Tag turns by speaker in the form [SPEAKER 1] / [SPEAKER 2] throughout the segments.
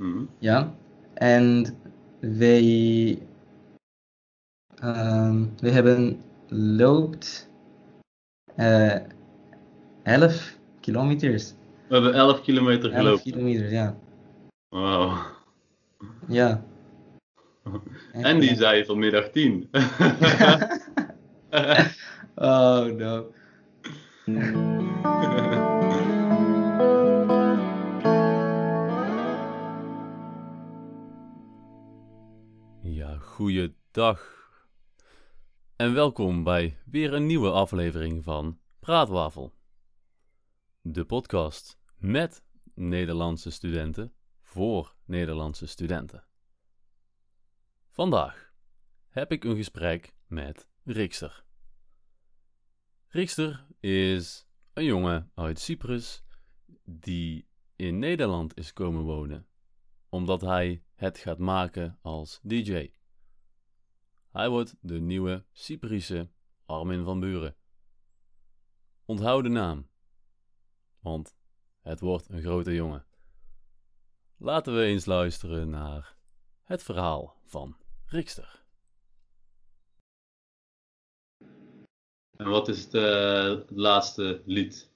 [SPEAKER 1] Mm.
[SPEAKER 2] yeah and they um, we hebben loopt eh 11 kilometers.
[SPEAKER 1] We hebben 11 kilometer
[SPEAKER 2] 11
[SPEAKER 1] gelopen.
[SPEAKER 2] kilometers, ja.
[SPEAKER 1] Wauw.
[SPEAKER 2] ja.
[SPEAKER 1] En die zei vanmiddag 10.
[SPEAKER 2] oh no.
[SPEAKER 3] Ja, goeiedag. En welkom bij weer een nieuwe aflevering van Praatwafel. De podcast met Nederlandse studenten voor Nederlandse studenten. Vandaag heb ik een gesprek met Rikster. Rikster is een jongen uit Cyprus die in Nederland is komen wonen omdat hij het gaat maken als DJ. Hij wordt de nieuwe Cyprische Armin van Buren. Onthoud de naam, want het wordt een grote jongen. Laten we eens luisteren naar het verhaal van Rikster.
[SPEAKER 1] En wat is het eh, laatste lied?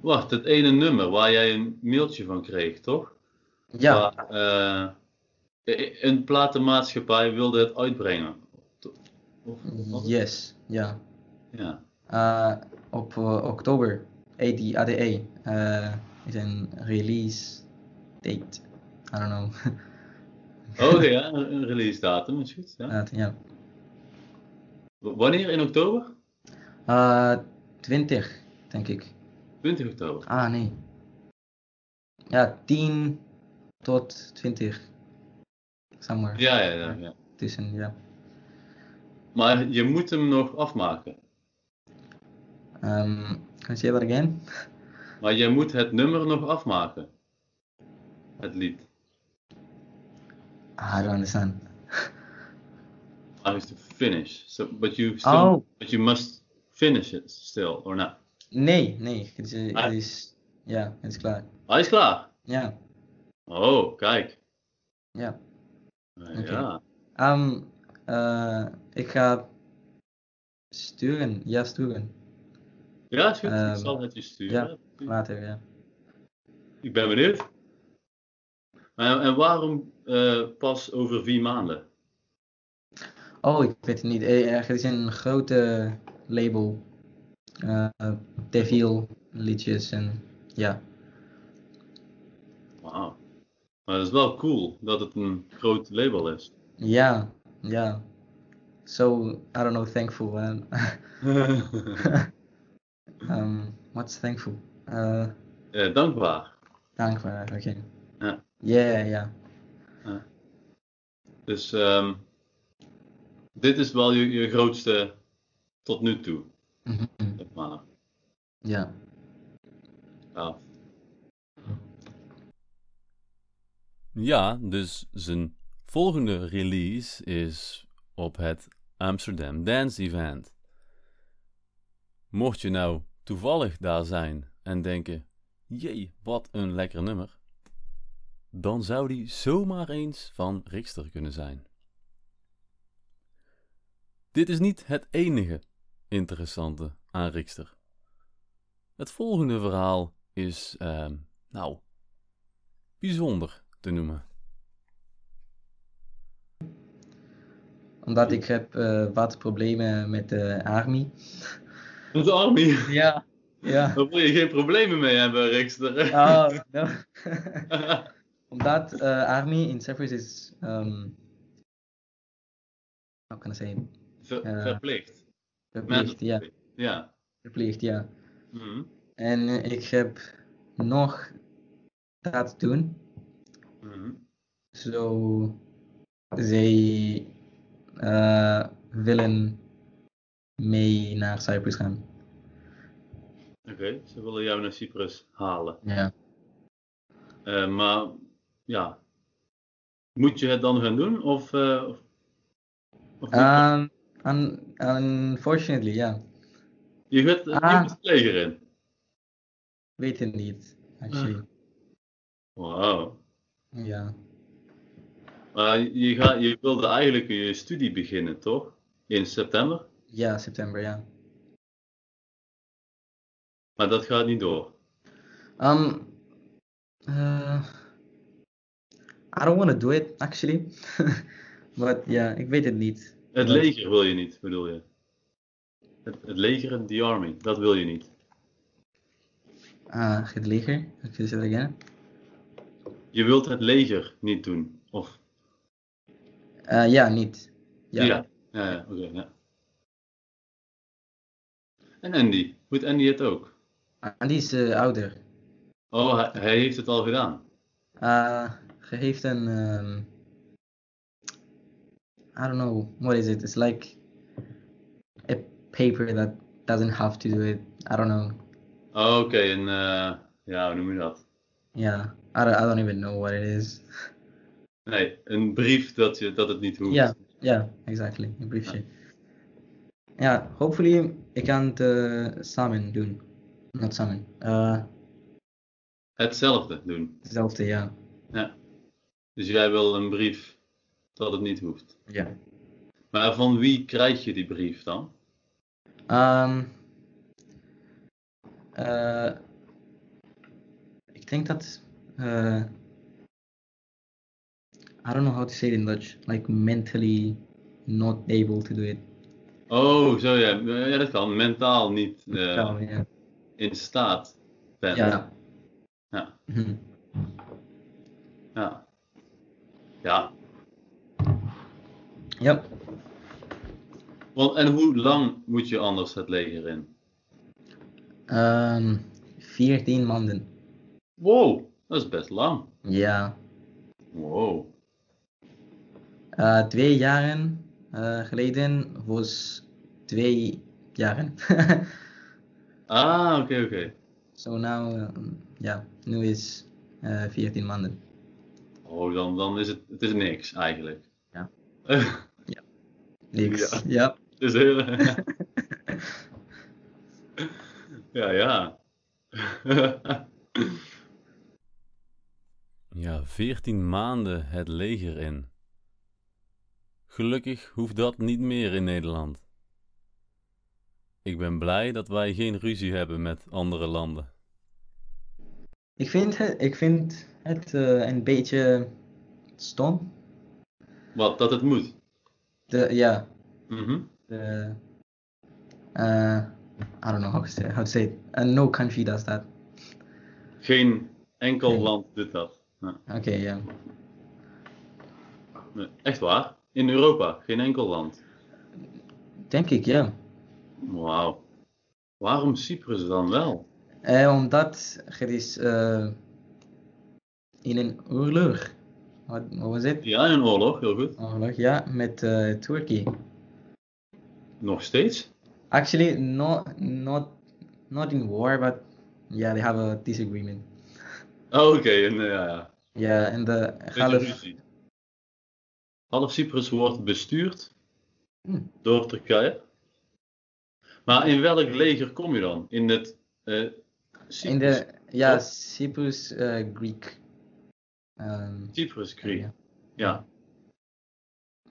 [SPEAKER 1] Wacht, het ene nummer waar jij een mailtje van kreeg, toch?
[SPEAKER 2] Ja,
[SPEAKER 1] Waar, eh, e- een platenmaatschappij wilde het uitbrengen. Of, of-
[SPEAKER 2] yes, ja.
[SPEAKER 1] ja.
[SPEAKER 2] Eh, op eh, oktober ADE eh is een release date. I don't know.
[SPEAKER 1] Oh ja, een een release datum is goed. Ja.
[SPEAKER 2] Ja, Eh, ja.
[SPEAKER 1] W- Wanneer? In oktober?
[SPEAKER 2] Eh, 20, denk ik.
[SPEAKER 1] 20 oktober.
[SPEAKER 2] Ah, nee. Ja, 10 tot 20. Somewhere.
[SPEAKER 1] Ja, ja, ja, ja.
[SPEAKER 2] Tussen, ja.
[SPEAKER 1] Maar je moet hem nog afmaken.
[SPEAKER 2] Um, can you say that again?
[SPEAKER 1] Maar jij moet het nummer nog afmaken. Het lied.
[SPEAKER 2] Ah, I don't understand.
[SPEAKER 1] I have to finish. So, but you still,
[SPEAKER 2] Oh,
[SPEAKER 1] but you must finish it still, or not?
[SPEAKER 2] nee, nee. Het is, eh,
[SPEAKER 1] Ah.
[SPEAKER 2] het is, ja, het is klaar.
[SPEAKER 1] Hij Ah, is klaar.
[SPEAKER 2] Ja,
[SPEAKER 1] Oh, kijk.
[SPEAKER 2] ja.
[SPEAKER 1] Nou
[SPEAKER 2] Oké.
[SPEAKER 1] Ja.
[SPEAKER 2] Ehm, eh, ik ga sturen, ja, sturen.
[SPEAKER 1] Ja, is goed.
[SPEAKER 2] Ehm,
[SPEAKER 1] ik zal het je sturen.
[SPEAKER 2] ja, Later, ja.
[SPEAKER 1] Ik ben benieuwd. En- en waarom eh, pas over vier maanden?
[SPEAKER 2] Oh, ik weet het niet. Eh, eh, Het is een grote label. Eh eh, te veel liedjes en ja.
[SPEAKER 1] Wauw. Maar dat is wel cool dat het een groot label is.
[SPEAKER 2] Ja, ja. So, I don't know, thankful. man. um, what's thankful? Eh,
[SPEAKER 1] Eh, dankbaar.
[SPEAKER 2] dankbaar eigenlijk. ja.
[SPEAKER 1] Ja.
[SPEAKER 2] Yeah, ja.
[SPEAKER 1] Dus ehm, dit is wel je, je grootste tot nu toe,
[SPEAKER 2] Mhm.
[SPEAKER 1] zeg maar.
[SPEAKER 2] Ja.
[SPEAKER 1] Ja.
[SPEAKER 3] Ja, dus zijn volgende release is op het Amsterdam Dance Event. Mocht je nou toevallig daar zijn en denken: jee, wat een lekker nummer, dan zou die zomaar eens van Rikster kunnen zijn. Dit is niet het enige interessante aan Rikster. Het volgende verhaal is, ehm, nou, bijzonder te noemen.
[SPEAKER 2] Omdat ik heb eh, wat problemen met de army.
[SPEAKER 1] Onze army.
[SPEAKER 2] Ja. Ja.
[SPEAKER 1] Daar wil je geen problemen mee hebben, Rikster.
[SPEAKER 2] Oh, no. Omdat eh, army in Cyprus is... Um, how can I say? it?
[SPEAKER 1] Ver-
[SPEAKER 2] Ja.
[SPEAKER 1] verplicht.
[SPEAKER 2] Verplicht, ja.
[SPEAKER 1] Ja.
[SPEAKER 2] Verplicht, ja.
[SPEAKER 1] Mhm.
[SPEAKER 2] En eh, ik heb nog dat doen.
[SPEAKER 1] Mhm.
[SPEAKER 2] Zo, zij eh, willen mee naar Cyprus gaan.
[SPEAKER 1] Oké, ze willen jou naar Cyprus halen.
[SPEAKER 2] Ja.
[SPEAKER 1] Eh, maar ja, moet je het dan gaan doen? Of, eh, of, of niet?
[SPEAKER 2] Um, un- unfortunately, ja.
[SPEAKER 1] je gaat je
[SPEAKER 2] ah.
[SPEAKER 1] moet het leger in.
[SPEAKER 2] Weet het niet, actually.
[SPEAKER 1] Wauw.
[SPEAKER 2] Ja.
[SPEAKER 1] Maar je, gaat, je wilde eigenlijk je studie beginnen, toch? In september?
[SPEAKER 2] Ja, september, ja.
[SPEAKER 1] Maar dat gaat niet door.
[SPEAKER 2] Um, uh, I don't want to do it, actually. But ja, ik weet het niet.
[SPEAKER 1] Het
[SPEAKER 2] Dat-
[SPEAKER 1] leger wil je niet, bedoel je? Het, het leger en the army, dat wil je niet.
[SPEAKER 2] Ah, het leger. Ik say that again.
[SPEAKER 1] Je wilt het leger niet doen, of?
[SPEAKER 2] Eh, ja, niet. Ja.
[SPEAKER 1] ja, ja, ja, oké, ja. En Andy, moet Andy het ook?
[SPEAKER 2] En die is eh, ouder.
[SPEAKER 1] Oh, hij, hij heeft het al gedaan.
[SPEAKER 2] Uh, ge heeft een. ehm, I don't know, what is it? It's like a paper that doesn't have to do it. I don't know.
[SPEAKER 1] Oh, Oké, en eh, ja, hoe noem je dat?
[SPEAKER 2] Yeah, I don't, I don't even know what it is.
[SPEAKER 1] Nee, een brief dat, je, dat het niet hoeft.
[SPEAKER 2] Yeah, yeah, exactly. Een briefje. Ja, hopefully ik kan het eh, samen doen. Not samen. Eh,
[SPEAKER 1] Hetzelfde doen.
[SPEAKER 2] Hetzelfde, ja.
[SPEAKER 1] Ja. Dus jij wil een brief dat het niet hoeft.
[SPEAKER 2] Ja.
[SPEAKER 1] Maar van wie krijg je die brief dan?
[SPEAKER 2] Ehm, eh, ik denk dat. eh, I don't know how to say it in Dutch. Like mentally not able to do it.
[SPEAKER 1] Oh, zo ja. Ja, dat kan. Mentaal niet eh,
[SPEAKER 2] Zo, ja.
[SPEAKER 1] in staat bent.
[SPEAKER 2] Ja.
[SPEAKER 1] Ja.
[SPEAKER 2] Mhm.
[SPEAKER 1] Ja. ja.
[SPEAKER 2] Ja.
[SPEAKER 1] Want, en hoe lang moet je anders het leger in?
[SPEAKER 2] Ehm, 14 maanden.
[SPEAKER 1] Wow, dat is best lang.
[SPEAKER 2] Ja.
[SPEAKER 1] Wow.
[SPEAKER 2] Eh, twee jaren eh, geleden was twee jaren.
[SPEAKER 1] Ah, oké, oké.
[SPEAKER 2] Zo nou, ehm, ja, nu is eh 14 maanden.
[SPEAKER 1] Oh, dan, dan is het, het is niks eigenlijk.
[SPEAKER 2] Ja.
[SPEAKER 1] het
[SPEAKER 2] Niks.
[SPEAKER 1] Ja.
[SPEAKER 2] ja.
[SPEAKER 1] is heel... ja, ja.
[SPEAKER 3] Ja, 14 maanden het leger in. Gelukkig hoeft dat niet meer in Nederland. Ik ben blij dat wij geen ruzie hebben met andere landen.
[SPEAKER 2] Ik vind het, ik vind het eh, een beetje stom.
[SPEAKER 1] Wat, dat het moet.
[SPEAKER 2] De, ja,
[SPEAKER 1] Mhm.
[SPEAKER 2] de, eh, I don't know how to say, how to say it. Eh, no country does that.
[SPEAKER 1] Geen enkel
[SPEAKER 2] Nee.
[SPEAKER 1] land doet dat. Ja.
[SPEAKER 2] Oké, ja.
[SPEAKER 1] Nee, Echt waar? In Europa, geen enkel land.
[SPEAKER 2] Denk ik, ja.
[SPEAKER 1] Wauw. Waarom Cyprus dan wel?
[SPEAKER 2] Eh, omdat het is eh, in een oorlog. Wat, wat was het?
[SPEAKER 1] Ja, in een oorlog, heel goed.
[SPEAKER 2] Oorlog, ja, met eh Turkije.
[SPEAKER 1] Nog steeds?
[SPEAKER 2] Actually, not, not, not in war, but yeah, they have a disagreement.
[SPEAKER 1] Oh, oké, en, eh, ja, ja.
[SPEAKER 2] Ja, en de
[SPEAKER 1] Beetje
[SPEAKER 2] half...
[SPEAKER 1] ruzie. Half Cyprus wordt bestuurd
[SPEAKER 2] Hm.
[SPEAKER 1] door Turkije. Maar in welk leger kom je dan? In het eh
[SPEAKER 2] In
[SPEAKER 1] Cyprus, Oh.
[SPEAKER 2] de, ja,
[SPEAKER 1] Toch?
[SPEAKER 2] Cyprus eh, Greek. Ehm,
[SPEAKER 1] Cyprus Krieg?
[SPEAKER 2] Ja.
[SPEAKER 1] Ja.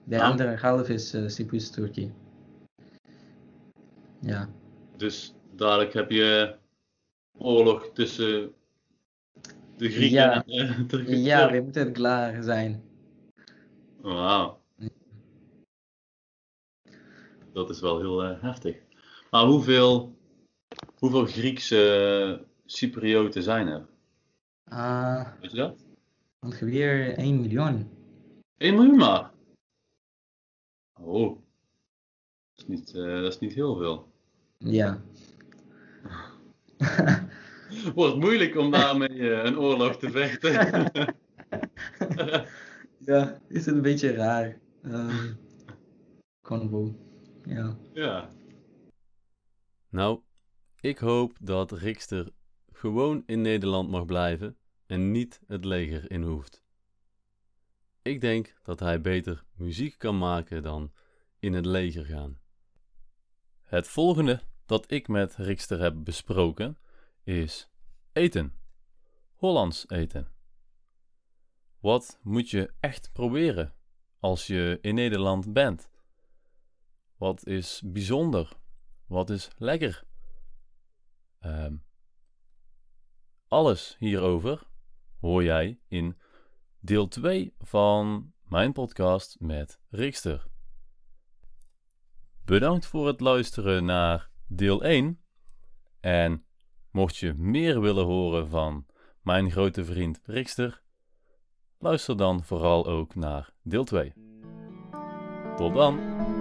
[SPEAKER 2] de
[SPEAKER 1] Ah.
[SPEAKER 2] andere half is eh, Cyprus Turkije. Ja.
[SPEAKER 1] dus dadelijk heb je oorlog tussen de Grieken
[SPEAKER 2] Ja.
[SPEAKER 1] en eh, Turken.
[SPEAKER 2] ja, we moeten klaar zijn.
[SPEAKER 1] Wauw. Dat is wel heel eh, heftig. Maar hoeveel, hoeveel Griekse Cyprioten zijn er?
[SPEAKER 2] Ah,
[SPEAKER 1] Weet je dat?
[SPEAKER 2] ongeveer 1 miljoen.
[SPEAKER 1] 1 miljoen maar. Oh. Dat is niet, eh, dat is niet heel veel.
[SPEAKER 2] Ja.
[SPEAKER 1] Wordt moeilijk om daarmee eh, een oorlog te vechten.
[SPEAKER 2] ja, is het een beetje raar. Ehm convo. Ja.
[SPEAKER 1] ja.
[SPEAKER 3] Nou, ik hoop dat Rikster gewoon in Nederland mag blijven en niet het leger in hoeft. Ik denk dat hij beter muziek kan maken dan in het leger gaan. Het volgende dat ik met Rikster heb besproken is eten. Hollands eten. Wat moet je echt proberen als je in Nederland bent? Wat is bijzonder? Wat is lekker? Ehm, alles hierover hoor jij in deel 2 van mijn podcast met Rikster. Bedankt voor het luisteren naar deel 1. En mocht je meer willen horen van mijn grote vriend Rikster, luister dan vooral ook naar deel 2. Tot dan!